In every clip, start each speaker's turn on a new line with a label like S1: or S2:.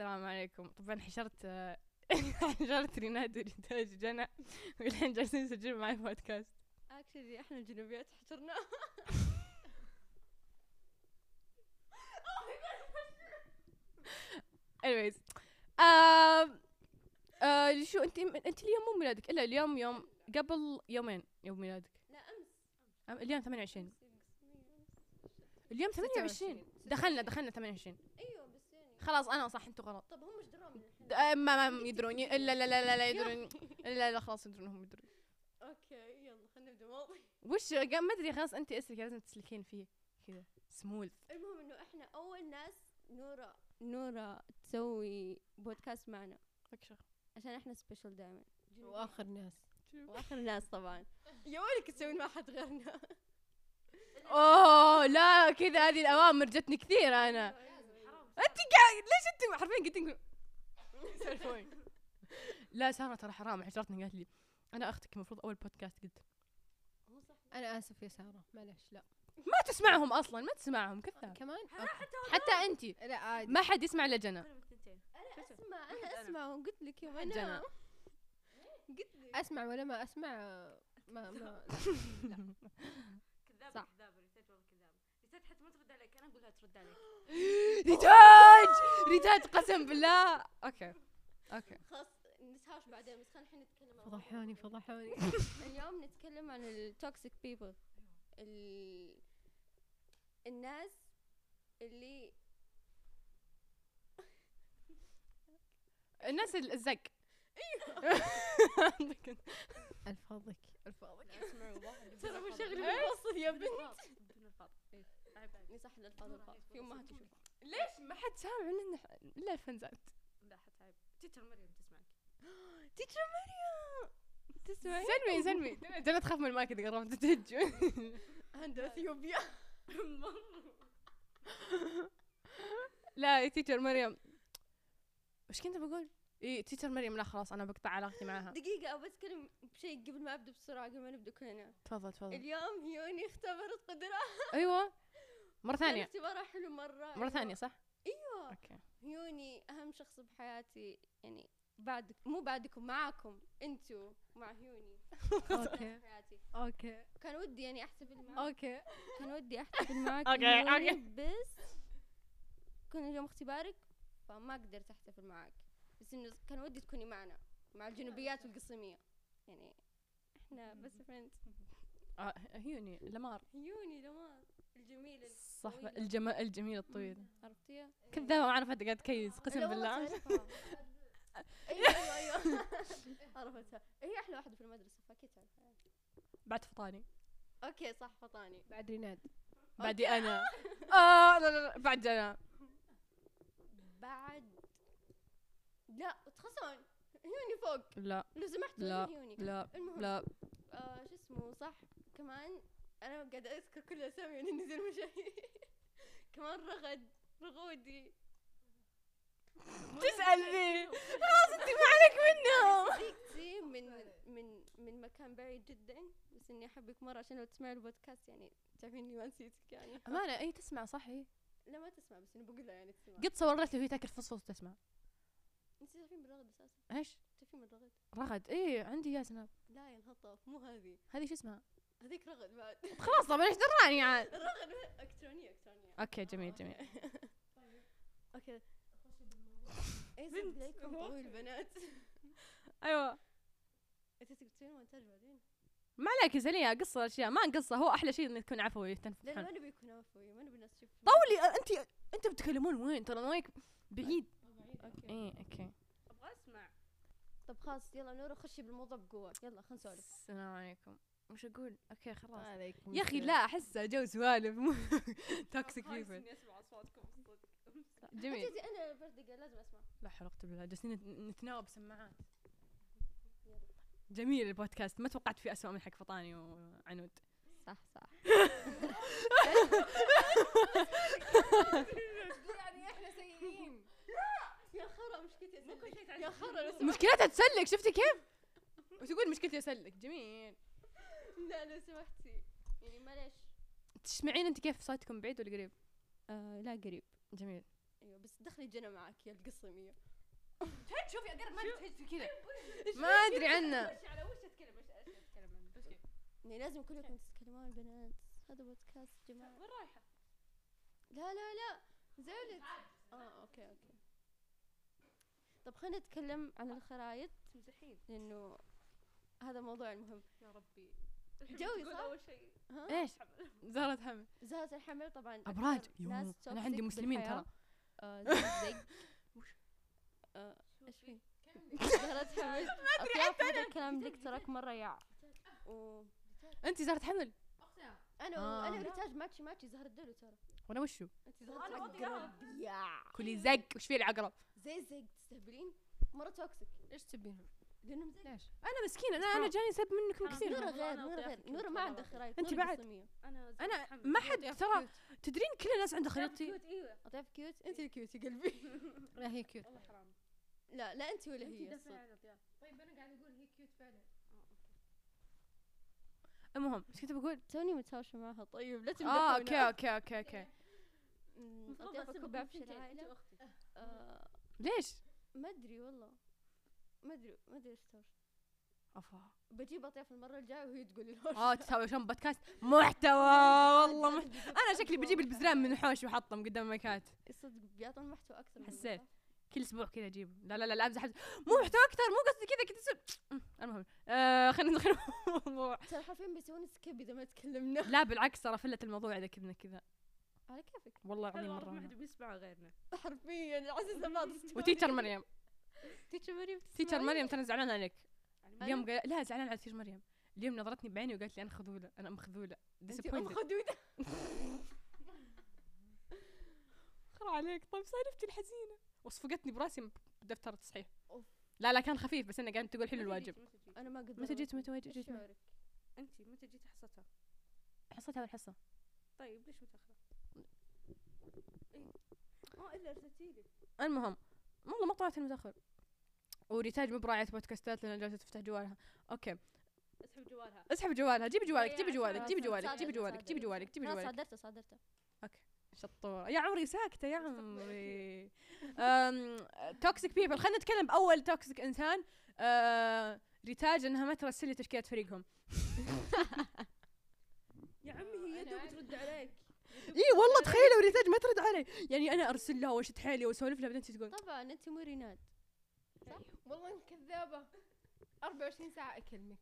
S1: السلام عليكم طبعا حشرت آه، حشرت ريناد وريتاج جنى والحين جالسين نسجل معي بودكاست
S2: اكشلي احنا الجنوبيات حشرنا
S1: anyways آم، آه شو انت انت اليوم مو ميلادك الا اليوم يوم قبل يومين يوم ميلادك
S2: لا امس
S1: أم- اليوم 28 اليوم 28 دخلنا دخلنا 28
S2: ايوه بس يعني
S1: خلاص انا صح انتوا غلط
S2: طب هم ايش دراهم الحين
S1: د- آه، ما ما يدرون ي- لا لا لا لا, لا يدرون لا لا خلاص يدرون هم يدرون
S2: اوكي يلا خلينا نبدا موضوع
S1: وش قام- ما ادري خلاص انت اسلك لازم تسلكين فيه كذا سموث
S2: المهم انه احنا اول ناس نورا نورا تسوي بودكاست معنا
S1: اكشر
S2: عشان احنا سبيشل دائما
S3: واخر ناس
S2: واخر ناس طبعا يا ويلك تسوين مع حد غيرنا
S1: اوه لا كذا هذه الاوامر جتني كثير انا انت قاعد ليش انت حرفيا قلت نقول سولفوني لا ساره ترى حرام حجرتني قالت لي انا اختك المفروض اول بودكاست قلت
S2: هو صح
S3: انا اسف يا ساره معلش لا
S1: ما تسمعهم اصلا ما تسمعهم كذاب
S3: كمان أوكي.
S1: حتى انت
S3: لا عادي
S1: ما حد يسمع الا جنى
S2: انا اسمع انا اسمع وقلت لك يوم انا
S1: جنى.
S2: قلت لك
S3: اسمع ولا ما اسمع آه، ما ما
S4: كذابه
S3: صح.
S4: كذابه ريتات والله كذابه ريتات حتى ما ترد عليك انا اقول لها ترد عليك
S1: ريتاج ريتاج قسم بالله اوكي اوكي
S2: خلاص نسهاش بعدين بس خلينا الحين نتكلم عن موضوع.
S3: فضحوني فضحوني
S2: اليوم نتكلم عن التوكسيك بيبل ال... الناس اللي
S1: الناس ال- الزق ايوه
S3: الفاضك الفاضك
S2: ترى مو شغلي
S1: إيه؟
S2: بالوصف يا بنت
S4: بدون الفاضي عيب عليك.
S2: نصح للفاضي الفاضي في امها تشوف
S1: ليش ما حد سامع مننا ح- الا الفنزات
S4: لا حتى عيب تيتر مريم تسمعك
S2: تيتشر مريم تسمعي
S1: سلمي سلمي جنى تخاف من المايك اذا قربت تهج
S2: عند اثيوبيا
S1: لا يا تيتشر مريم وش كنت بقول؟ اي تيتشر مريم لا خلاص انا بقطع علاقتي معاها
S2: دقيقة أبغى أتكلم بشيء قبل ما أبدأ بسرعة قبل ما نبدأ كلنا
S1: تفضل تفضل
S2: اليوم هيوني اختبرت قدراتها
S1: ايوه مرة
S2: كان
S1: ثانية
S2: اختبارها حلو مرة
S1: مرة ثانية صح؟
S2: أيوه
S1: اوكي
S2: هيوني أهم شخص بحياتي يعني بعدك مو بعدكم معاكم أنتوا مع هيوني
S3: اوكي
S2: حياتي
S3: اوكي
S2: كان ودي يعني احتفل معاك
S3: اوكي
S2: كان ودي احتفل معاك
S1: أوكي،
S2: يومي،
S1: أوكي.
S2: بس كان اليوم اختبارك فما قدرت احتفل معاك بس انه كان ودي تكوني معنا مع الجنوبيات والقصيمية يعني احنا بس فريند
S1: آه، هيوني لمار
S2: عيوني لما الجميلة
S1: صحبة
S2: طويلة.
S1: الجمال الجميلة الطويلة
S2: عرفتيها؟
S1: كذابة ما عرفت قاعد تكيس
S2: لا
S1: قسم
S2: والله
S1: بالله
S2: تعرفها. ايوه ايوه ايوه عرفتها هي احلى واحدة في المدرسة فاكيد تعرفها
S1: بعد فطاني
S2: اوكي صح فطاني
S3: بعد ريناد
S1: بعدي انا اه لا لا لا بعد جنى
S2: بعد لا تخصون عيوني فوق
S1: لا
S2: لو سمحت
S1: لا.
S2: لا عيوني
S1: لا
S2: المهم
S1: لا
S2: آه شو اسمه صح كمان انا قاعدة اذكر كل الاسامي يعني نزل مشاهير كمان رغد رغودي
S1: تسأل ذي خلاص انت ما عليك منهم
S2: صديقتي من من من مكان بعيد جدا بس اني احبك مره عشان لو تسمعي البودكاست يعني تعرفين اني ما نسيتك يعني
S1: امانة اي إيه، تسمع صح هي
S2: لا ما تسمع بس اني بقول لها يعني تسمع
S1: قد صورت لي وهي تاكل فصفص وتسمع
S2: انت تعرفين من رغد اساسا
S1: ايش
S2: تعرفين من رغد
S1: رغد ايه عندي يا سناب
S2: لا يا الهطف مو هذه
S1: هذه شو اسمها
S2: هذيك رغد بعد
S1: خلاص طبعا ايش دراني عاد
S2: رغد الكترونيه الكترونيه
S1: اوكي جميل جميل
S2: اوكي ايه سلام عليكم طويل بنات
S1: ايوه
S2: انت تبي تسوين مونتاج بعدين؟
S1: ما عليك زلية قصة الاشياء ما نقصها هو احلى شيء انه تكون عفوي
S2: لا لا ما
S1: تنفحون
S2: نبي يكون عفوي ما نبي الناس تشوف
S1: طولي أه، انت انت بتتكلمون وين ترى المايك بعيد
S2: اوكي
S1: ايه اوكي
S4: ابغى اسمع
S2: طب خلاص يلا نورا خشي بالموضوع بقوه يلا خلينا نسولف
S1: السلام عليكم وش اقول اوكي خلاص
S3: عليكم
S1: يا اخي لا احسه جو سوالف مو توكسيك
S4: خايس
S1: بيبل
S4: اني اسمع اصواتكم الصدق
S1: جميل
S2: أنت- انا بردقه لازم اسمع
S1: لا حرقت بالله جالسين نت- نتناوب سماعات
S2: يلا.
S1: جميل البودكاست ما توقعت فيه أسوأ من حق فطاني وعنود
S2: صح صح
S3: يعني احنا سيئين
S2: يا خرا مشكلتي
S4: مو كل شيء
S2: أسلك.
S4: تعرف
S2: يا خرا لو سمحت
S1: مشكلتها تسلك شفتي كيف وتقول مشكلتي اسلك جميل
S2: لا لو سمحتي يعني معليش
S1: تسمعين انت كيف صوتكم بعيد ولا قريب
S2: آه لا قريب
S1: جميل
S2: ايوه بس دخلي جنى معك يا القصيميه
S4: تهج شوفي اقرب ما تهج كذا
S1: أيوة، ما ادري عنه
S4: وش على وش اتكلم وش ايش اتكلم عنه بس كذا
S2: يعني لازم كلكم تتكلمون بنات هذا بودكاست يا جماعه
S4: وين رايحه؟
S2: لا لا لا زعلت اه اوكي اوكي طب خلينا نتكلم عن الخرايط
S4: تمزحين
S2: لانه هذا موضوع المهم
S4: يا ربي
S2: جوي
S4: تقول
S2: صح؟
S4: اول شيء
S2: ها
S1: ايش زهرة حمل
S2: زهرة الحمل طبعا
S1: أبراج.
S2: أكثر
S1: يوه،
S2: ناس
S1: أنا عندي
S2: toxic
S1: مسلمين
S2: بالحياة.
S1: ترى.
S2: آه، زقزق آه، ايش في؟ زهرة حمل ما ادري حتى انا الكلام لك تراك مره يع و
S1: انت زهرة حمل
S3: اختها
S2: انا
S1: آه.
S2: انا ريتاج ماتشي ماتشي زهرة دلو ترى
S1: وانا وشو
S2: انت
S4: أنا
S2: زهرة
S4: ماضي يا.
S2: عقرب يع
S1: كلي زق وش في العقرب
S2: زي زق تستهبلين مره توكسيك
S1: ليش تبينهم
S2: لانهم زي
S3: ليش؟
S1: انا مسكينه انا انا جاني سب منكم
S4: حرام.
S1: كثير
S2: نورا
S4: والله
S2: غير نورا غير
S4: أنا وضيعتك يمكن
S2: نورا ما
S4: والله.
S2: عندها خرايط
S1: أنت
S2: نورا
S1: بعد.
S2: قصيمية.
S4: انا زي
S1: أنا
S4: الحمد.
S1: ما حد ترى تدرين كل الناس عندها خريطتي
S4: كيوت، ايوه
S2: طيب كيوت انت الكيوت يا قلبي
S3: لا هي كيوت
S4: والله حرام
S2: لا لا انت ولا
S3: أنت
S2: هي
S3: دافعة
S2: الصوت.
S3: عن الضيافة. طيب انا قاعد اقول هي كيوت فعلا
S1: المهم ايش كنت بقول
S2: توني متهاوشة معها طيب لا
S1: اه
S2: تمدحونا.
S1: اوكي اوكي اوكي اوكي
S2: أمم،
S4: المفروض
S2: أضيفك
S4: أسبب
S2: بعفش
S4: بنتين،
S2: العائلة.
S4: أنت واختي
S2: آه،
S1: ليش؟
S2: ما ادري والله ما ادري ما ادري ايش تهاوش
S1: افا
S2: بجيب اضيف المرة الجاية وهي تقول لي الهوش
S1: اه تساوي شلون بودكاست محتوى والله محتوى. انا شكلي بجيب البزران من حوش وحطهم قدام المايكات
S2: صدق بيعطون محتوى اكثر من
S1: حسيت.
S2: المرة.
S1: كل اسبوع كذا اجيب لا لا لا لا امزح أمزح. مو محتوى اكثر مو قصدي كذا كنت أسب- أم، المهم آه خلينا ندخل الموضوع
S2: ترى حرفيا بيسوون سكيب اذا ما تكلمنا
S1: لا بالعكس ترى فلت الموضوع اذا كنا كذا
S2: على كيفك
S1: والله العظيم
S4: حلو والله ما
S1: مره
S4: حد بيسمعه غيرنا
S2: حرفيا عزيزة ما تصدق
S1: وتيتشر مريم
S2: تيتشر مريم
S1: تيتشر
S2: تسمعي؟
S1: مريم ترى زعلان عليك
S4: يعني ما-
S1: اليوم قال لا زعلان على تيتشر مريم اليوم نظرتني بعيني وقالت لي انا خذوله انا مخذوله
S2: انت ام
S1: ديسابوينتد
S2: خدودة
S1: خرا عليك طيب سالفتي الحزينه وصفقتني براسي بدفتر التصحيح
S2: أوف.
S1: لا لا كان خفيف بس انها قاعده تقول حلو
S4: متى
S1: الواجب
S4: جيتي؟ متى جيتي؟
S2: انا ما قد
S1: متى جيت متى
S2: إيش
S1: وجيت جيت
S2: شعورك؟
S4: انت متى جيتي حصتها
S1: حصتها اول حصه
S4: طيب ليش متاخره إيه. اه الا ارسلتي لي
S1: المهم والله ما طلعت المتاخر وريتاج مو براعية بودكاستات لان جالسه تفتح جوالها اوكي
S4: اسحب جوالها
S1: اسحب جوالها جيب جوالك
S4: إيه،
S1: جيب
S4: عشان
S1: جوالك جيب
S2: أصدر-
S1: جوالك جيب
S2: أصدر-
S1: جوالك جيب
S2: أصدر.
S1: جوالك جيب
S2: خلاص
S1: جوالك
S2: صدرته صدرته
S1: شطورة يا عمري ساكتة يا عمري توكسيك بيبل خلينا نتكلم بأول توكسيك إنسان آه، ريتاج إنها ما ترسل لي تشكيلة فريقهم
S4: يا عمي هي
S3: أنا
S4: يا دوب
S3: عارفة.
S4: ترد عليك
S1: إي والله تخيلوا ريتاج ما ترد علي يعني أنا أرسل لها وأشد حيلي وأسولف لها بعدين تجي تقول
S2: طبعا انت مو ريناد
S3: والله انك كذابه 24 ساعه اكلمك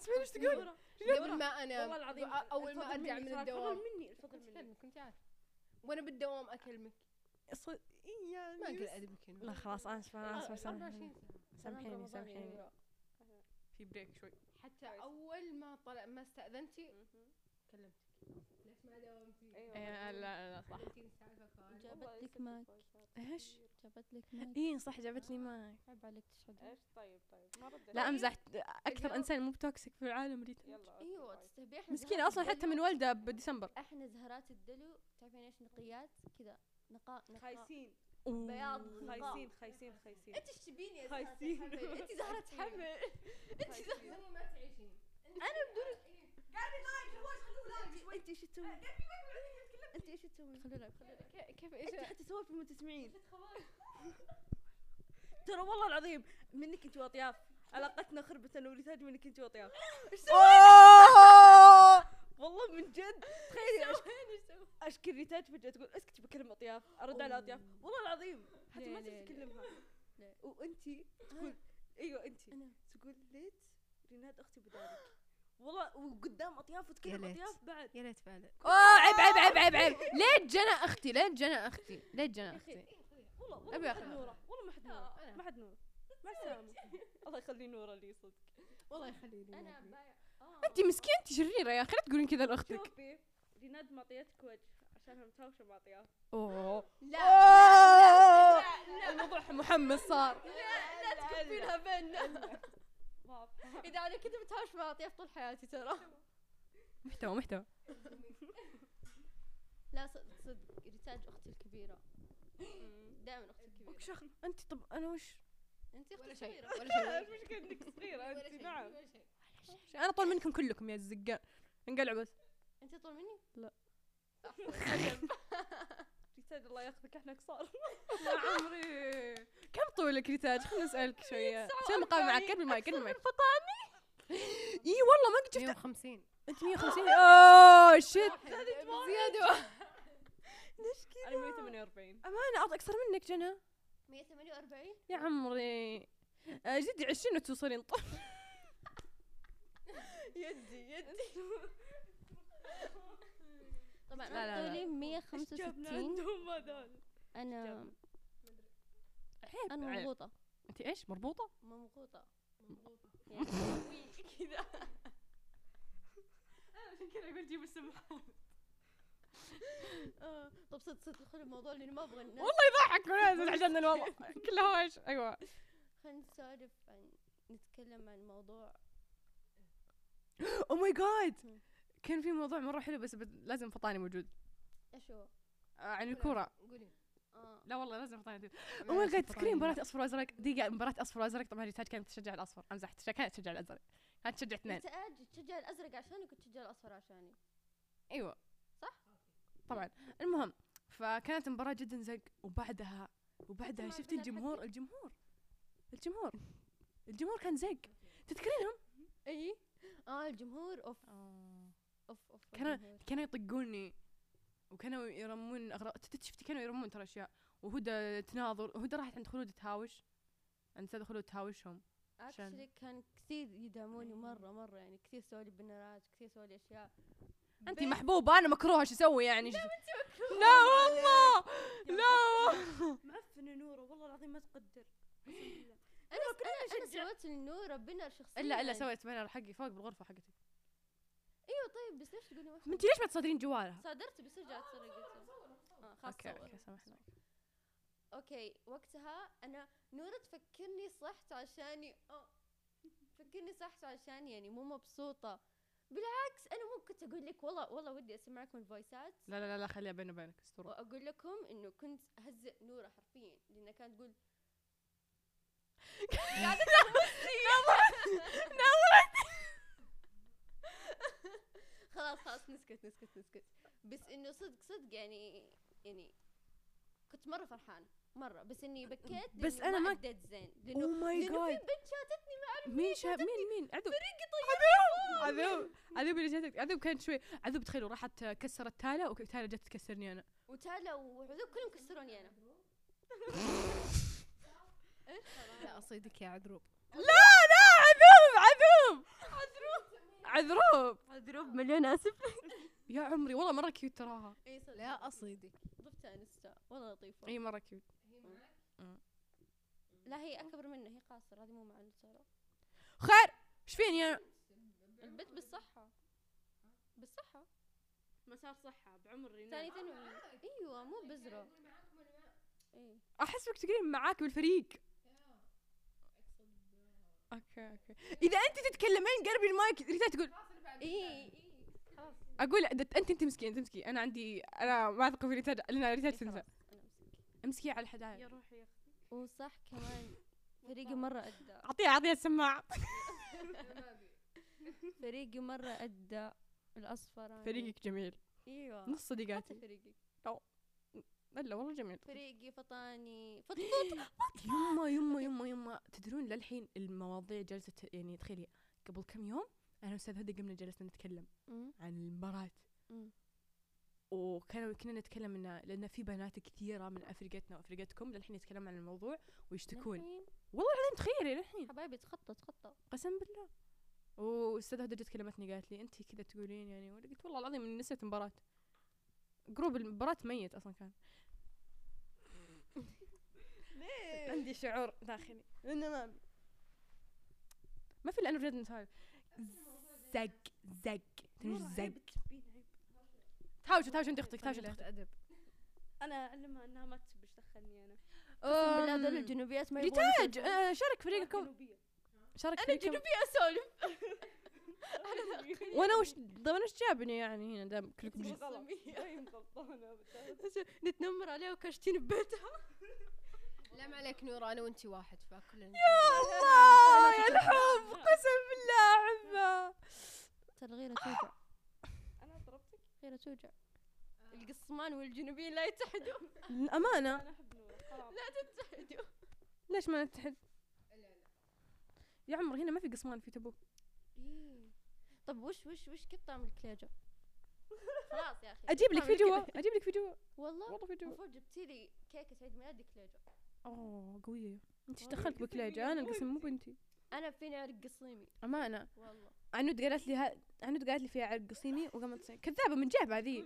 S1: اسمعي وش تقول
S4: نورة، نورة.
S3: قبل ما انا
S4: والله العظيم
S3: أ- اول ما
S4: الفضل
S3: ارجع
S4: مني،
S3: من
S4: ترى
S3: الدوام
S4: الفضل مني الفضل
S3: كنت
S4: مني
S3: اكلمك كنت عارف وانا بالدوام اكلمك
S1: أصل- إي يعني يا
S3: ما اقل
S1: يوسف.
S3: ادبك هنا
S1: لا خلاص أسفة أنا آسفة
S3: 24
S1: سامحيني
S3: ساعه
S1: سامحيني
S2: رمضان يعني.
S4: أيوة،
S1: سامحيني في بريك شوي
S3: حتى
S4: كويس.
S3: اول ما طلع ما استاذنتي كلمتك ليش ما داومتي؟
S4: أيوة.
S1: إيه، لا لا صح
S3: 30 سالفه خالد.
S2: جابت
S4: والله
S2: لك
S4: يسلمك
S2: ماك
S4: ويسعدك.
S1: إيش؟
S2: جابت لك
S4: أيوة.
S2: ماك
S1: إي صح جابت لي ماك
S2: عيب عليك تشهد
S4: ايش طيب طيب ما ردت
S1: لا أمزح أكثر
S3: اليوم-
S1: إنسان مو بتوكسيك في العالم ريتاج
S4: يلا
S2: ايوه تستهبي احنا
S1: مسكينة
S2: زهرات
S1: أصلا حتى
S2: الدلو-
S1: من والدة بديسمبر
S2: احنا زهرات الدلو تعرفين ايش نقيات كذا نقاء نقاء
S4: خايسين
S2: بياض نقاء
S4: خايسين خايسين خايسين
S2: انت ايش تبيني يا
S4: خايسين.
S2: زهرة حمل انت زهرة حمل
S4: خايسين.
S3: هي ما تعيشين
S4: انت ايش تسوي؟ انت ايش تسوي؟
S2: خلونا خلونا
S3: كي- كيف
S4: انت
S3: ايش
S4: حتى سوالف ما تسمعين ترى والله العظيم منك انت واطياف علاقتنا خربت انا وريتاج منك انت واطياف والله من جد تخيلي أش- اشكي ريتاج فجاه تقول اسكتي بكلم اطياف ارد على اطياف والله العظيم حتى ما
S2: ليه- ليه-
S4: تعرف تكلمها
S2: ليه؟
S4: وانت تقول ايوه انت
S2: أنا.
S4: تقول ليت ريناد اختي بذلك والله وقدام اطياف وتكلم
S3: يا ليت.
S4: اطياف بعد
S3: يا ريت فعلا
S1: اوه عيب عيب عيب عيب عيب ليت جنى اختي ليت جنى اختي ليت جنى اختي
S4: والله والله
S1: أبي
S4: ما حد
S1: أخذها.
S4: نوره والله ما حد نوره
S3: أنا.
S4: ما حد نوره مع السلامه الله يخلي نوره لي صدق
S3: والله يخليني
S2: انا
S3: والله.
S2: بايع آه.
S1: انت مسكين انت شريره يا اخي لا تقولين كذا لاختك
S4: شوفي ريناد معطيتك وجه عشانها متهاوشه مع اطياف
S1: اوه
S2: لا
S1: أوه. الموضوع محمس صار
S2: لا تكفينها بيننا
S4: واضحه
S2: اذا انا كنت متهاوش مع اطياف طول حياتي ترى
S1: محتوى محتوى
S2: لا صدق صدق ريتاج اختي الكبيره دائما اختي الكبيره
S1: وش أخ- انت طب انا وش
S2: انت اختي
S3: ولا شيء ولا
S2: الكبيره
S3: شيء
S4: المشكله انك صغيره
S3: ولا
S4: انت
S3: شيء،
S4: نعم
S3: ولا شيء.
S1: ش- انا طول منكم كلكم يا الزقان انقلعوا بس
S2: انت طول مني
S1: لا.
S2: أحسن.
S4: ريتاج الله ياخذك احنا كصار
S1: يا عمري كم طولك ريتاج خلنا نسالك شويه شنو مقابل معك قرب المايك قرب المايك فطاني اي والله ما قد شفت
S3: 150
S1: انت 150 اوه شيت
S3: زيادة
S1: ليش كذا
S4: انا 148
S1: امانه اعطى اكثر منك جنى
S2: 148
S1: يا عمري آه، جدي عشرين وتوصلين طيب. طول
S4: يدي يدي
S2: طبعا
S1: لا، لا،
S2: انا
S1: لا.
S2: طولي 165
S4: عندهم هذول
S2: انا انا
S1: عيب.
S2: مضغوطه
S1: انت ايش مربوطه
S2: مضغوطه
S3: كذا انا عشان كذا اقول جيب السماعة
S2: آه. طب صدق صدق خلي الموضوع لاني ما ابغى الناس
S1: والله يضحك ونازل عشان الوضع كله هواش ايوه
S2: خلينا نسولف عن نتكلم عن موضوع
S1: او ماي جاد Oh كان في موضوع مره حلو بس بد- لازم فطاني موجود
S2: ايش هو؟
S1: آه، عن Oh الكوره
S3: قولي
S2: اه
S1: لا آه، والله لازم فطاني او ماي جاد تذكرين مباراة اصفر وازرق دقيقة مباراة اصفر وازرق طبعا ريتاج كانت تشجع الاصفر امزح تشجع- كانت تشجع الازرق كانت تشجع اثنين
S2: انت أج- تشجع الازرق عشاني كنت تشجع الاصفر عشاني
S1: ايوه
S2: صح؟
S1: طبعا المهم فكانت المباراة جدا زق وبعدها وبعدها
S2: ما
S1: شفت
S2: بدأت
S1: الجمهور
S2: حقك.
S1: الجمهور الجمهور الجمهور كان زق تذكرينهم؟
S2: اي اه الجمهور اوف
S1: آه،
S2: اوف اوف
S1: كان-
S2: الجمهور.
S1: كانوا يطقوني وكانوا يرمون اغراض تت- شفتي كانوا يرمون ترى اشياء وهدى تناظر وهدى راحت عند خلود تهاوش عند استاذ خلود تهاوشهم عشان-
S2: اكشلي كان كثير يدعموني مره مره يعني كثير سووا لي بنرات كثير سووا لي اشياء
S1: انت
S2: بيت-
S1: محبوبه انا مكروهه شو اسوي يعني لا والله لا والله
S4: معفنه نوره والله العظيم ما تقدر
S2: انا انا انا سويت لنوره بنر شخصيا
S1: الا الا سويت بانر حقي فوق بالغرفه حقتي
S2: ايوه طيب بس ليش تقولي ما
S1: انت ليش ما تصدرين جوالها؟
S2: صادرت بس
S1: آه،
S2: رجعت سرقتها اه خلاص
S1: اوكي
S2: صور.
S1: اوكي سامحنا
S2: اوكي وقتها انا نورة تفكرني صحت عشاني اه تفكرني صحت عشان يعني مو مبسوطة بالعكس انا مو كنت اقول لك والله والله ودي اسمعكم الفويسات
S1: لا لا لا لا خليها بيني وبينك استر
S2: واقول لكم انه كنت اهزئ نورة حرفيا لانها كانت تقول خلاص خلاص نسكت نسكت نسكت بس انه صدق صدق يعني يعني كنت مرة فرحانة مرة بس اني بكيت
S1: بس
S2: لأنه
S1: أنا ما-
S2: عدت زين
S1: Oh
S2: لانه
S1: my
S2: لانه في
S1: God.
S2: بنت شاتتني ما اعرف
S1: مين شاب مين مين عذوب عذوب عذوب عذوب اللي جاتك عذوب كانت شوي عذوب تخيلوا راحت آه، كسرت تالا وتالا جت تكسرني انا
S2: وتالا وعذوب كلهم كسروني انا
S3: لا اصيدك يا عذروب
S1: لا لا عذوب عذوب عذروب عذروب
S2: عذروب مليون اسف
S1: يا عمري والله مره كيوت تراها
S2: اي صدق
S3: لا اصيدك
S2: ضفتها انستا والله لطيفة
S1: اي مره كيوت
S2: لا هي اكبر منه هي قاصرة هذه مو مع ترى
S1: خير ايش فيني انا
S2: البنت بالصحة بالصحة
S4: مسار صحه بعمر
S2: ثاني
S4: ريناء
S2: ثانوي ايوه مو إيه. بزرة اي
S1: احسبك تقولين معاك بالفريق اوكي اوكي اذا انت تتكلمين قربي المايك ريتا تقول
S2: اي خلاص
S1: اقول أنت- انت تمسكي انت تمسكي انا عندي انا ما اثق في ريتا لان ريتا
S2: إي
S1: تنسى
S2: إيه، خلاص، أنا أمسك.
S1: امسكي على الحدايق
S4: يا روحي يا اختي
S2: وصح كمان فريقي مرة أدى
S1: اعطيها اعطيها السماعه
S2: فريقي مرة أدى الأصفر يعني.
S1: فريقك جميل
S4: آه.
S2: ايوه
S1: نص صديقاتي
S2: حتى فريقي
S1: طيب، لا والله جميل
S2: فريقي فطاني فطفوط
S1: يما يما يما يما تدرون للحين المواضيع جلسة يعني تخيلي قبل كم يوم انا واستاذ هدى قمنا جلسنا نتكلم عن المباراة
S2: مم.
S1: وكانوا كنا نتكلم انه لان في بنات كثيره من افرقتنا وافرقتكم للحين يتكلموا عن الموضوع ويشتكون
S2: الحين
S1: والله العظيم تخيلي للحين
S2: حبايبي تخطى تخطى
S1: قسم بالله واستاذ هدى جت كلمتني قالت لي انت كذا تقولين يعني وأنا قلت والله العظيم إني نسيت المباراة جروب المباراة ميت اصلا كان عندي شعور داخلي انه ما ما في الا انا بجد نسولف زق زق تدري
S4: نورة
S1: زق
S4: عيب تسبين عيب
S1: تهاوشوا تهاوشوا انت اختك تهاوشوا انت
S3: ادب
S4: انا اعلمها انها ما تسبش دخلني انا
S2: اقسم بالله
S1: أم،
S2: هذول الجنوبيات ما يبغون
S1: ريتاج آه، شارك فريقكم
S4: جنوبية.
S1: شارك
S2: انا
S1: فريقكم
S2: جنوبية اسولف
S1: وانا وش طب انا وش جابني يعني هنا دام كلكم
S4: تبغى
S1: جد
S4: غلط دايم غلطانه بالدرجة.
S2: نتنمر عليها وكاشتين ببيتها
S3: لا ما عليك نورة انا وانتي واحد فكلنا
S1: الله يا الحب قسم بالله احبه
S2: ترى غيرة توجع
S4: انا ضربتك
S2: غيرة توجع القصمان والجنوبيين لا يتحدوا
S1: الأمانة
S3: انا احب نورة خلاص
S2: لا تتحدوا
S1: ليش ما نتحد
S3: لا لا
S1: يا عمر هنا ما في قسمان في تبوك
S2: إيه. طب وش وش وش كيف طعم الكليجة خلاص يا اخي
S1: أجيب
S2: طعم
S1: لك في جوا
S2: الكليجة.
S1: أجيب لك في جوا
S2: والله
S1: والله في جوا
S2: المفروض جبتي لي كيكة عيد ميلادي كليجة
S1: أوه قوية أنت ايش
S2: والله
S1: دخلت بكليجة أنا القسم مو بنتي
S2: انا فيني عرق قصيمي
S1: أمانة
S2: والله
S1: عنود قالت لي ها... عنود قالت لي فيها عرق قصيمي وقامت تصيح. كذابه من جهه بعدين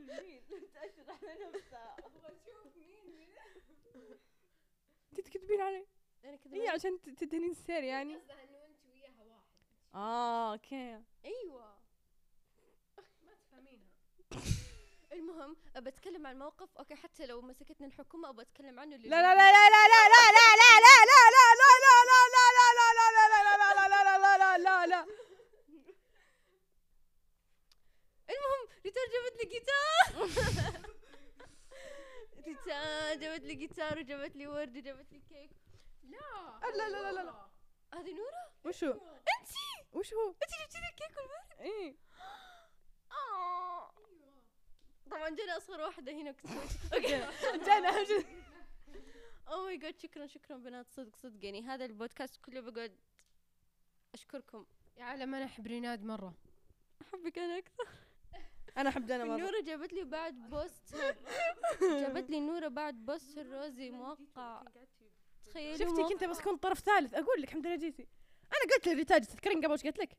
S4: مين تأشر على نفسها
S3: ابغى اشوف مين من
S1: انت تكذبين علي
S2: انا كذا
S1: هي عشان ت- تدهنين السير يعني
S3: قصدها انه انت وياها واحد
S1: اه اوكي
S2: ايوه
S3: ما تفهمينها
S2: المهم بتكلم عن موقف اوكي حتى لو مسكتني الحكومه ابغى اتكلم عنه
S1: لا لا لا لا لا لا لا لا لا لا لا لا لا لا لا لا لا لا لا لا لا لا لا لا لا لا لا لا
S2: ريتار جابت لي جيتار ريتار جابت لي جيتار وجابت لي ورد وجابت لي كيك
S3: لا
S1: لا لا لا لا لا.
S2: هذه نورة
S1: وش هو؟
S2: انتي
S1: وش هو؟
S2: انتي جبتي لي الكيك والورد
S1: ايه
S2: آه.
S3: ايوه
S2: طبعا جينا اصغر واحده هنا كنت سويت- اوكي
S1: جانا
S2: او ماي جاد شكرا شكرا بنات صدق صدق يعني هذا البودكاست كله بقعد اشكركم
S3: يا عالم انا احب ريناد مره
S2: احبك انا اكثر
S1: انا احب جانا مره
S2: نورة جابت لي بعد بوستر جابت لي نورة بعد بوستر روزي موقع تخيلي
S1: شفتك انت بس كنت طرف ثالث اقول لك الحمد لله جيتي انا قلت للريتاج تذكرين قبل وش قلت لك؟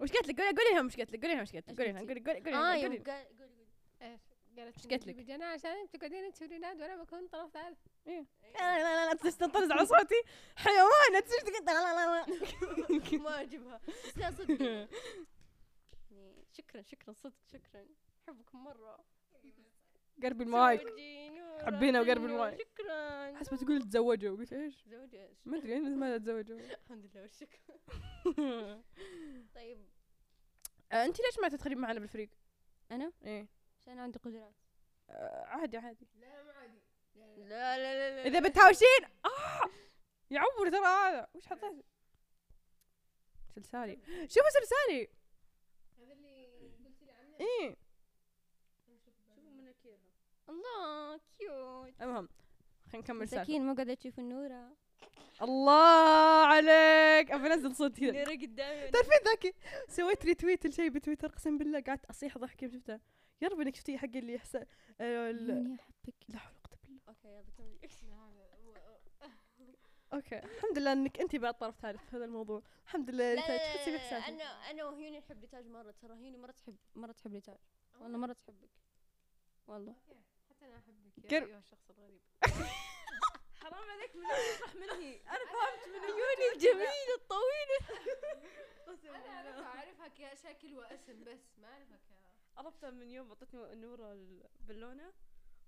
S1: وش قلت لك؟ قولي قولي لهم وش قلت لك؟ قولي لهم وش قلت لك؟ قولي لهم قولي قولي قولي
S2: اه
S1: لهم، قولي
S2: يوم
S1: لهم.
S2: قال- قولي قولي
S3: ايش قالت
S1: إيش قالت لك؟
S3: انا عشان انت تقعدين انت وريناد وانا بكون طرف ثالث
S1: لا لا لا تستنطرز على صوتي حيوان تشتكي لا لا لا لا
S2: ما اعجبها بس لا صدق يعني شكرا شكرا صدق شكرا احبكم مره
S1: قرب المايك
S2: زوجي نورة،
S1: حبينا وقرب
S2: حنو،
S1: المايك.
S2: شكرا
S1: حسبة تقول تزوجوا قلت ايش؟
S2: زوجي ايش
S1: ما ادري انا ما تزوجوا
S2: الحمد لله والشكر طيب
S1: انت ليش ما تدخلين معنا بالفريق؟
S2: انا
S1: ايه
S2: عشان عندي قدرات
S1: آه، عادي عادي
S3: لا ما عادي
S2: لا لا لا
S1: اذا بتهاوشين آه يا عمر ترى هذا وش حطيت؟ سلسالي شوفوا سلسالي
S3: هذا اللي قلت لي عنه
S1: ايه
S3: شوفوا مناكيرها
S2: الله كيوت
S1: المهم خلينا نكمل سالفة
S2: مساكين ما قاعده تشوف النوره
S1: الله عليك ابي انزل صوت كذا
S2: النوره قدامي
S1: تعرفين ذاك سويت ريتويت لشيء بتويتر قسم بالله قعدت اصيح ضحك يوم شفتها يا رب انك شفتي حق اللي يحسن آه، ال-
S2: عيوني احبك
S1: لا حول ولا قوة بالله
S2: اوكي يلا كملي
S1: اوكي الحمد لله انك انت بعد طرف ثالث في هذا الموضوع الحمد لله ريتاج تحسي باحساس
S2: انا انا وهيوني نحب لتاج مره ترى هيوني مره تحب مره تحب لتاج والله مره تحبك والله
S3: حتى انا احبك يا
S1: كر-
S3: ايها الشخص الغريب
S4: حرام عليك من وين صح منهي انا فهمت من
S2: عيوني الجميله الطويله
S3: انا
S4: يعني
S3: اعرفها اعرفها كشكل واسم بس ما اعرفها ك
S4: عرفتها من يوم اعطتني نوره البالونه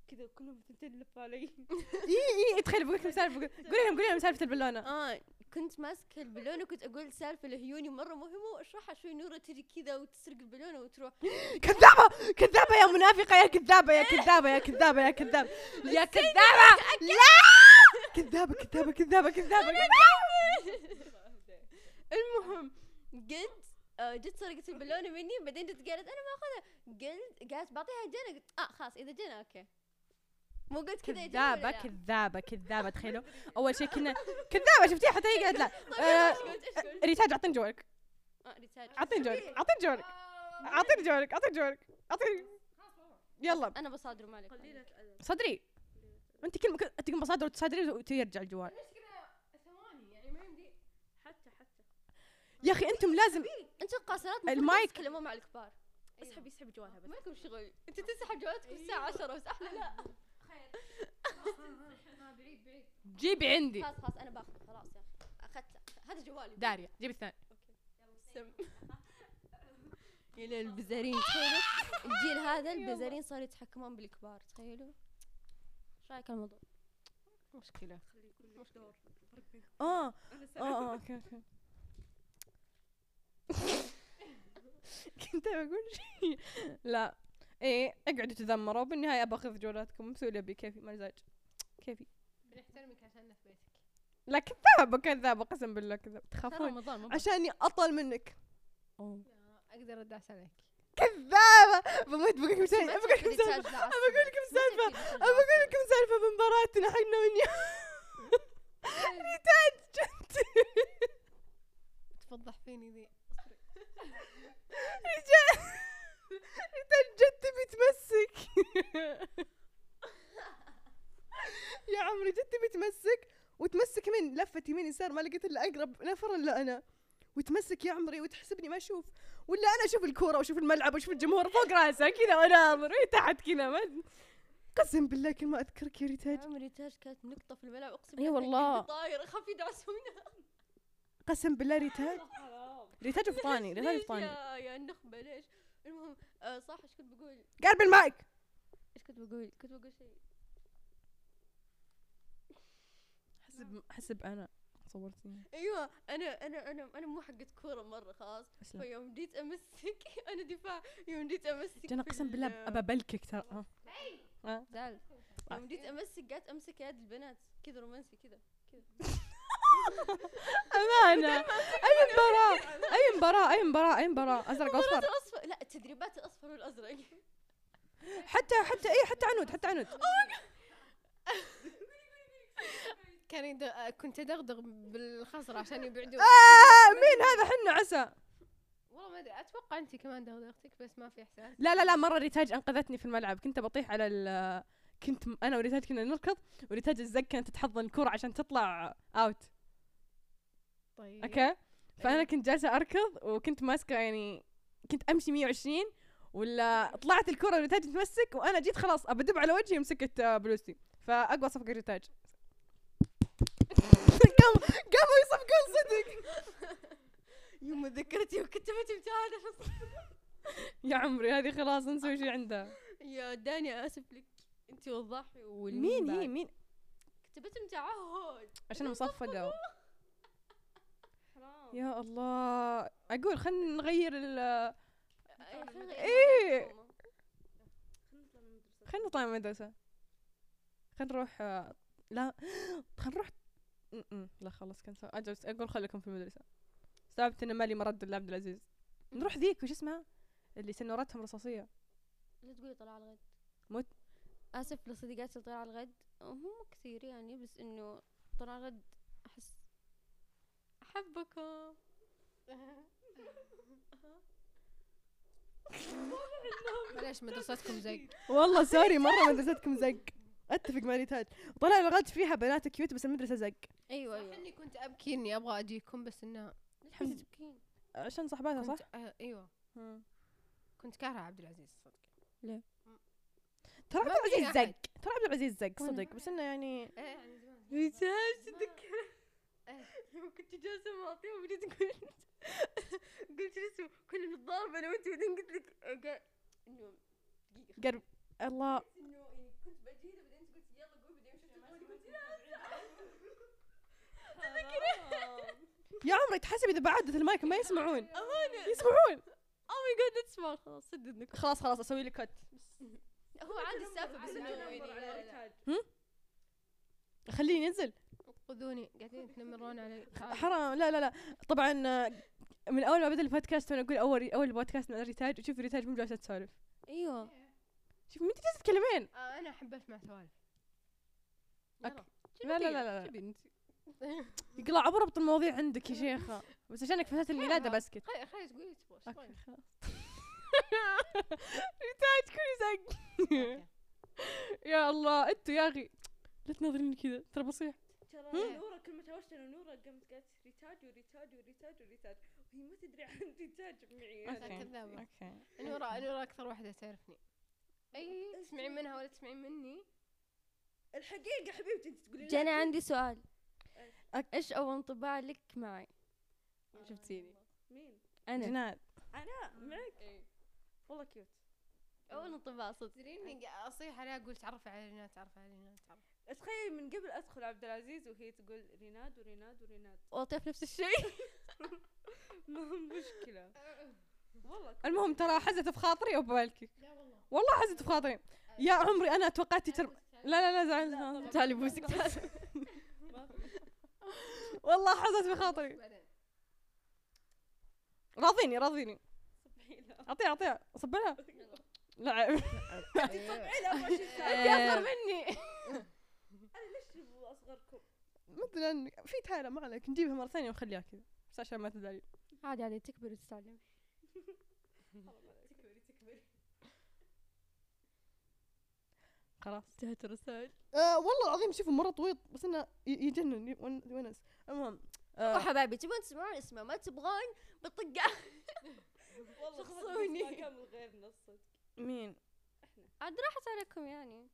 S4: كذا كلهم ثنتين لفوا علي
S1: اي اي تخيل بقول لكم سالفه بقول- قولي لهم قولي لهم سالفه البالونه
S2: اه كنت ماسكه البالونه وكنت اقول سالفه لهيوني مره مهمه واشرحها شوي نوره تجي كذا وتسرق البالونه وتروح
S1: كذابه كذابه يا منافقه يا كذابه يا كذابه يا كذابه يا كذاب يا كذابه لا كذابه كذابه كذابه كذابه
S2: طيب، المهم قلت آه، جت سرقت البالونه مني بعدين جت قالت انا ما اخذها قلت قالت بعطيها جنى قلت اه خلاص اذا جنى اوكي مو قلت كذا يا جنى ولا
S1: كذابه
S2: لا؟
S1: كذابه كذابه تخيلوا اول شيء كنا كذابه شفتيها حتى هي قالت لا آه،
S2: طيب، إيش قلت؟ إيش قلت؟
S1: ريتاج اعطيني جوالك
S2: آه، ريتاج.
S1: اعطيني جوالك اعطيني جوالك اعطيني جوالك اعطيني جوالك
S2: آه.
S1: اعطيني يلا
S2: انا بصادره ما عليك
S4: قليلة أدب
S1: صدري انت كلمه كل... تقوم بصادر وتصادري وترجع الجوال
S3: ثواني يعني ما يمدي
S4: حتى حتى
S1: يا اخي انتم لازم
S2: انتوا القاصرات المفروض
S1: المايك.
S2: ما تتكلموا مع الكبار
S4: اسحب يسحب جوالها بس
S2: ما لكم شغل انت تسحب جوالاتكم الساعه 10 بس احنا لا
S3: ما بعيد بعيد
S1: جيبي عندي
S2: خلاص خلاص انا باخذ خلاص يا اخي اخذته هذا جوالي
S1: داريا جيبي الثاني
S2: سم يا ليل البزارين تخيلوا الجيل هذا البزارين صاروا يتحكمون بالكبار تخيلوا ايش رايك على الموضوع؟
S1: مشكله
S4: خلي يكون لك دور
S1: اه
S4: انا
S1: اه اه اوكي اوكي كنت بقول شيء لا ايه اقعدوا تذمروا بالنهايه باخذ جولاتكم مسؤولة ابي كيفي مزاج كيفي
S3: بنحترمك عشاننا في بيتك
S1: لا كذابه كذابه قسم بالله كذاب
S2: ترى
S1: تخافون
S2: رمضان ما
S1: عشاني اطول منك
S2: أوه.
S3: لا، اقدر ادعس عليك
S1: كذابه بموت بقول لكم
S2: ما
S1: سالفه بقول لكم
S2: تحبي
S1: سالفه
S2: ترجع أصلاً.
S1: بقول لكم
S2: ما تحبي
S1: سالفة.
S2: ترجع
S1: أبى
S2: أصلاً.
S1: اقول لكم سالفه من مباراتنا حنا ونيا ريتاج جد
S3: تفضح فيني ذي
S1: رجال ريتاج جد تبي تمسك يا عمري جد تبي تمسك وتمسك من لفت يمين يسار ما لقيت الا اقرب نفر الا انا وتمسك يا عمري وتحسبني ما اشوف ولا انا اشوف الكوره واشوف الملعب واشوف الجمهور فوق راسه كذا واناظر وهي تحت كذا ما- قسم بالله كل ما اذكرك يا ريتاج
S2: عمري تاج كانت نقطة في الملعب اقسم
S1: إيه
S2: كان
S1: والله.
S2: قلبي طاير اخاف يدعسونا
S1: قسم بالله ريتاج
S4: حرام
S1: ريتاج فطاني ريتاج
S2: ليش
S1: فطاني
S2: يا يا النخبة ليش؟ المهم آه صح ايش كنت بقول؟
S1: قلب المايك
S2: ايش كنت بقول؟ كنت بقول شيء
S1: حسب حسب انا صورتني
S2: ايوه انا انا انا انا مو حقت كورة مرة خلاص فيوم جيت امسك انا دفاع يوم جيت امسك
S1: انا
S2: في
S1: قسم بالله
S2: ال-
S1: ابى بلكك ترى آه.
S2: تعال يوم جيت امسك قعدت امسك يد البنات كذا رومانسي كذا
S1: امانه اي مباراه اي مباراه اي مباراه اي مباراه ازرق واصفر
S2: الاصفر لا التدريبات الاصفر والازرق
S1: حتى حتى اي حتى عنود حتى عنود
S3: كان يد- كنت ادغدغ بالخصر عشان يبعدون
S1: آه مين هذا حنا عسى
S3: والله ما ادري اتوقع انت كمان دغدغتك بس ما في احساس
S1: لا لا لا مره ريتاج انقذتني في الملعب كنت بطيح على ال كنت م- انا وريتاج كنا نركض وريتاج الزق كانت تتحضن الكرة عشان تطلع اوت
S3: طيب
S1: اوكي فانا كنت جالسه اركض وكنت ماسكه يعني كنت امشي 120 ولا طلعت الكره وريتاج تمسك وانا جيت خلاص ابدب على وجهي مسكت آه، بلوستي فاقوى صفقه ريتاج قام قاموا يصفقون صدق
S2: يوم ذكرتي يوم كنت في امتحان أنا-
S1: يا عمري هذه خلاص نسوي شيء عندها
S2: يا دانيا اسف لك انت وضحي والمين
S1: مين هي
S2: بعد.
S1: مين
S2: كتبت متعهد
S1: عشان مصفقه يا الله اقول خلينا نغير ال إيه. خلينا نطلع من المدرسه خلينا نروح آه، لا خلينا نروح م- م، لا خلاص كنت اجلس اقول خليكم في المدرسه استوعبت ان مالي مرد لعبد العزيز نروح ذيك وش اسمها اللي سنورتهم رصاصيه
S2: لا تقولي طلع على الغد
S1: موت.
S2: اسف لصديقاتي طلع على الغد هم كثير يعني بس انه طلع على الغد احس احبكم
S3: معليش مدرستكم زي
S1: والله سوري مره مدرستكم زق اتفق مع ريتاج طلع الغد فيها بنات كيوت بس المدرسه زق
S2: ايوه
S3: صح
S2: ايوه
S3: اني كنت ابكي اني ابغى اجيكم بس انه
S1: الحمد عشان صاحباتها صح
S3: كنت آه ايوه
S1: مم.
S3: كنت كارهه عبد العزيز صدق
S1: ترى
S3: ما
S1: عبد
S3: في
S1: العزيز
S3: أحد.
S1: زق ترى عبد العزيز زق صدق بس انه يعني
S3: ايه يعني زمان
S2: ريتاج
S3: ما-
S2: تذكرت يوم كنت جالسه معطيه وجيت تقول قلت شو اسمه كنا نتضارب انا وانت بعدين قلت لك قا- انه دقيقه
S1: قرب
S4: آه.
S1: الله
S2: انه يعني كنت بجيده بعدين انت قلت يلا قومي بعدين شفت قولي قلت
S1: يا عمري تحسب اذا بعدت المايك ما يسمعون
S2: امانه
S1: يسمعون
S2: او ماي جاد تسمع خلاص سد اذنك
S1: خلاص خلاص اسوي لك كت
S2: هو عادي السالفه بس انه يعني لا، لا.
S1: خليني ينزل
S3: خذوني قاعدين يتنمرون علي تعالوا.
S1: حرام لا لا لا طبعا آه، من اول ما بدا البودكاست وانا اقول اول اول بودكاست مع ريتاج وشوف ريتاج مو جالسه تسولف
S2: ايوه
S1: شوف مين جالسه تكلمين
S3: آه انا احب اسمع سوالف
S1: أوكي. لا
S2: طيب؟
S1: لا لا لا, لا.
S3: شو بنت
S1: يقلع ابو ربط المواضيع عندك يا شيخه بس عشانك فتاة الميلاد
S3: حرام.
S1: بسكت
S3: خلي خلي تقولي تبغى إيش
S1: اوكي
S3: تبغين.
S1: خلاص ريتاج كل زق
S3: أوكي.
S1: يا الله انتوا يا اخي لا تناظريني كذا ترى بصيح
S4: ترى نورة كل ما تهاوشت انا ونورة قامت قالت ريتاج وريتاج وريتاج وريتاج وهي ما تدري عن ريتاج معي
S3: أوكي.
S4: أنا.
S3: كذابة.
S1: اوكي
S3: نورا نورا اكثر واحده تعرفني اي تسمعين منها ولا تسمعين مني
S4: الحقيقة حبيبتي انت تقولي لا،
S2: جانا عندي سؤال
S1: أك-
S2: ايش اول انطباع لك معي
S1: شفتيني
S4: مين؟
S2: انا
S1: جناد
S4: انا
S3: Mm.
S4: معك؟ والله كيوت
S2: اول انطباع صدق
S3: تدري اني قا- اصيح عليها اقول تعرفي على رينات تعرفي على رينات تعرفي
S4: تخيل من قبل ادخل عبد العزيز وهي تقول ريناد وريناد وريناد
S2: والطيف نفس الشيء
S4: ما هو مشكلة والله كنت-
S1: المهم ترى حزت في خاطري او ببالك
S3: لا والله
S1: والله حزت في خاطري يا عمري انا توقعت تر... لا لا لا
S4: لا،
S1: زعلان
S4: طبعاً.
S1: تعالي بوسك تعالي.
S4: ما في.
S1: والله حزت في خاطري راضيني راضيني
S4: اعطيها اعطيها صبلها لا
S1: أيوة.
S2: آه.
S4: أصغر
S1: أصغر مني
S4: ليش اصغركم؟
S1: مثلا في تايلة ما عليك نجيبها مرة ثانية ونخليها كذا بس عشان ما تزعلي
S2: عادي عادي تكبر وتتعلم
S3: تكبري تكبري
S1: خلاص
S2: انتهت الرسائل
S1: آه والله العظيم شوفوا مرة طويل بس انه ي- يجنن ي- يونس المهم آه،
S2: حبايبي تبون تسمعون اسمه ما تبغون بالطقة
S4: والله
S2: شخصوني.
S4: شخصوني كامل غير نص
S1: مين
S2: عاد راحت عليكم يعني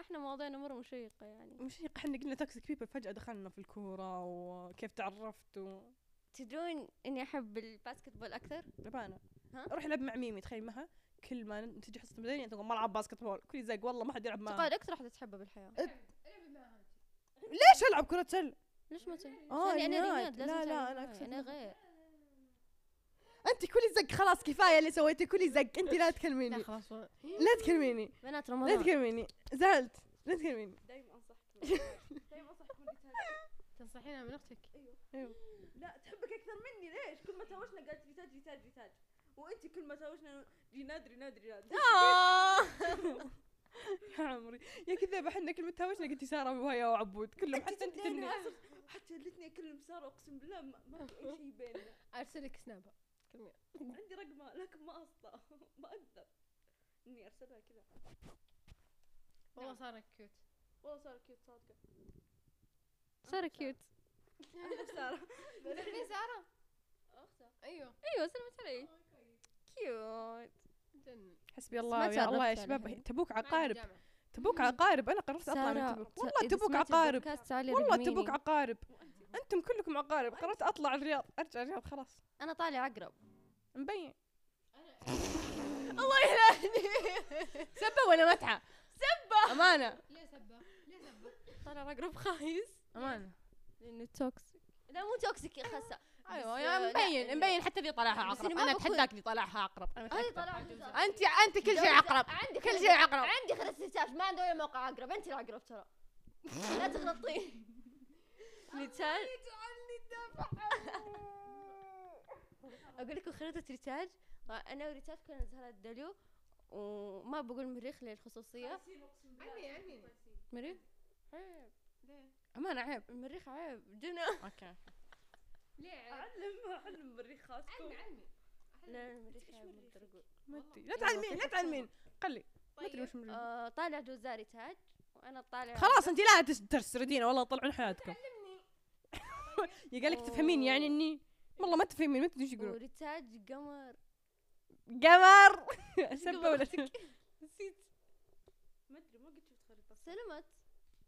S2: احنا مواضيعنا مرة مشيقة يعني
S1: مش احنا قلنا توكسيك بيبل فجأة دخلنا في الكورة وكيف تعرفت و
S2: تدرون اني احب الباسكتبول اكثر
S1: لبانة
S2: ها؟
S1: اروح العب مع ميمي تخيل معها كل ما تجي حصة مدنية تقول ما العب باسكت بول كل زق والله ما حد يلعب معها
S2: تقال اكثر واحدة تحبه بالحياة
S3: العبي معها انت
S1: ليش العب كرة سلة؟
S2: ليش ما تلعب؟
S1: آه،
S2: لأني انا
S1: الرياض.
S2: رياض لازم
S1: لا، لا، أنا
S2: تلعب معي،
S1: أكثر
S2: انا
S1: منك.
S2: غير
S1: انت كل زق خلاص كفاية اللي سويتيه كل زق انت لا تكلميني
S3: لا خلاص
S1: لا تكلميني
S2: بنات
S1: لا
S2: رمضان
S1: تكلميني زعلت لا تكلميني
S4: دايما انصحك من الريتاج. دايما انصحك من الريتاج.
S3: تنصحينها من اختك
S4: لا تحبك اكثر مني ليش؟ كل ما تهاوشنا قالت ريتاج ريتاج ريتاج وانت كل ما تهاوشنا ريناد ريناد ريناد
S1: آه،
S2: آه.
S1: يا عمري يا كذا احنا كلمة تهاوشنا قلت سارة وهيا وعبود كلهم حتى انت
S4: تدري
S1: تني
S4: أنا آسف. حتى لتني اكلم ساره اقسم بالله ما ما في اي شيء بيننا
S3: ارسلك سنابها كلمي
S4: عندي رقمها لكن ما اصلا ما اقدر اني ارسلها كذا
S3: والله صارت كيوت
S4: والله ساره كيوت صادقه
S2: سارة كيوت
S4: انا ساره
S3: تعرفين ساره؟
S4: اختها
S3: ايوه
S2: ايوه سلمت علي كيوت
S3: جنن
S1: حسبي
S2: ما
S1: الله يا
S2: تعرفت
S1: الله يا
S2: عليها.
S1: شباب تبوك
S3: معي
S1: عقارب
S3: بالجامعة.
S1: تبوك عقارب انا قررت اطلع من
S2: سارة،
S1: تبوك
S2: ت-
S1: والله
S2: إذا
S1: تبوك
S2: سمعتي
S1: عقارب
S2: البودكاست تعالي
S1: والله
S2: رقميني.
S1: تبوك عقارب انتم كلكم عقارب قررت اطلع الرياض ارجع الرياض خلاص
S2: انا طالع عقرب
S1: مبين
S2: الله يلهني
S1: سبة ولا متعة سبة امانة
S3: ليه سبه؟ ليه سبه؟
S2: طالع عقرب خايس
S1: امانة
S2: لانه توكسيك لا مو توكسيك يا خسة
S1: ايوه
S2: بس،
S1: يا
S2: آه، لا،
S1: مبين
S2: يعني-
S1: مبين حتى ذي طلعها عقرب
S2: السينما
S1: انا
S2: بكون-
S1: اتحداك ذي طلعها عقرب أنا
S2: هذه
S1: متأكدة.
S2: طالعة
S1: انت انت كل شيء عقرب
S2: عندي
S1: كل
S2: خرس-
S1: شيء عقرب
S2: عندي خرس نتاج ما عنده ولا موقع عقرب انت العقرب ترى لا تغلطين نتاج اقول لكم خريطة ريتاج انا وريتاج كنا زهرة دلو وما بقول مريخ للخصوصية
S3: عني عني
S2: مريخ عيب
S3: ليه؟
S1: امانة عيب
S2: المريخ عيب جنى
S1: اوكي
S3: ليه عيب؟
S4: علم علم مريخاتكم
S3: عني عني
S2: لا المريخ
S4: إيش
S2: عيب ما
S4: مريخ؟
S2: أقدر أقول.
S1: ما أدري. لا تعلمين لا تعلمين قلي ما ادري
S3: طيب.
S1: وش مريض
S2: آه، طالع جوزاري تاج وانا طالع
S1: خلاص انت لا تس- تسردين والله طلعون حياتكم يا قالك تفهمين يعني اني والله ما تفهمين ما تدري ايش يقولون
S2: وريتاج قمر
S1: قمر
S2: قمر
S1: سبة ولا
S2: أختك؟ نسيت
S4: ما ادري ما قد شفت خريطه
S2: سلمت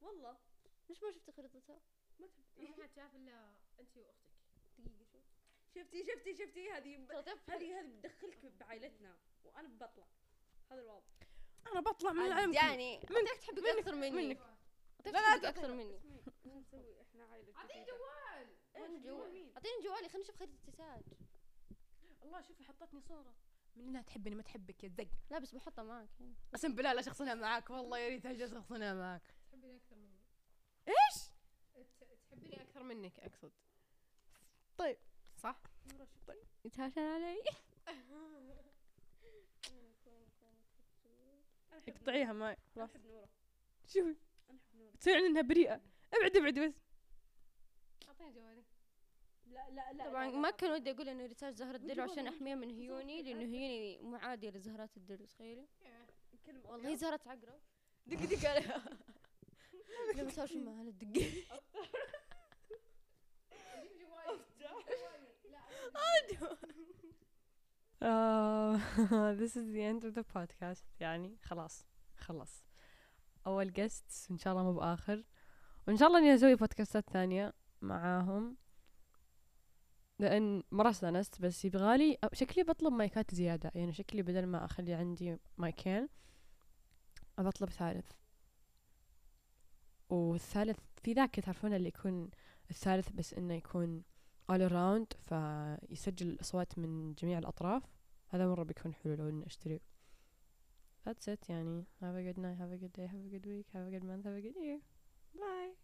S4: والله
S2: ليش ما شفت خريطتها؟
S4: ما تحب
S3: ما حد شاف الا انت واختك
S2: دقيقة شوف
S4: شفتي شفتي شفتي هذه ب-
S2: تعرف-
S4: هذه هذه بتدخلك بعائلتنا وانا بطلع هذا الوضع
S1: انا بطلع من العالم كله.
S2: يعني منك تحبك اكثر مني
S1: منك.
S3: أيوة،
S2: لا لا اكثر مني
S4: شو نسوي احنا عائله
S3: اعطيني
S4: جديدة.
S3: جوال
S4: إيش
S2: وين جوالي
S4: مين؟
S2: اعطيني جوالي خليني اشوف خريطة تاج
S1: الله شوفي حطتني صورة من انها تحبني ما تحبك يا زق
S2: لا بس بحطها معك يعني
S1: قسم بالله لا شخصنا معاك والله يا ريت اجلس شخصنا معاك
S3: تحبيني اكثر مني
S1: ايش؟
S3: ت- تحبيني اكثر منك اقصد
S1: طيب.
S3: صح؟
S4: مرة شفت-
S2: يتهاشن علي
S4: أنا أحب
S1: اقطعيها معي
S4: نورة. أنا
S1: طيب. خلاص
S4: احب نوره
S1: شوفي
S4: انا احب نوره
S1: تصير انها بريئة ابعدي ابعدي بس
S3: اعطيني جوالي
S4: لا لا لا
S2: طبعا
S4: لا، لا،
S2: ما
S4: لا.
S2: كان ودي اقول انه ريتاج زهرة دلو
S4: وجوال
S2: عشان
S4: منك.
S2: احميها من
S4: وزهرة
S2: هيوني
S4: الدلو.
S2: لانه هيوني معادية لزهرات الدلو تخيلي
S4: كلمة
S2: والله هي زهرة عقرب دق دق عليها لا ما صار شو معها لا تدقي
S3: اديني جوالي
S1: آه، this is the end of the podcast يعني خلاص خلص اول جست ان شاء الله مو باخر وان شاء الله اني اسوي بودكاستات ثانية معاهم لان مرة استانست بس يبغالي أو- شكلي بطلب مايكات زيادة يعني شكلي بدل ما اخلي عندي مايكين بطلب ثالث والثالث في ذاك تعرفون اللي يكون الثالث بس انه يكون all around فيسجل الأصوات من جميع الأطراف هذا مرة بيكون حلو لو إني أشتري That's it يعني Have a good night, have a good day, have a good week, have a good month, have a good year Bye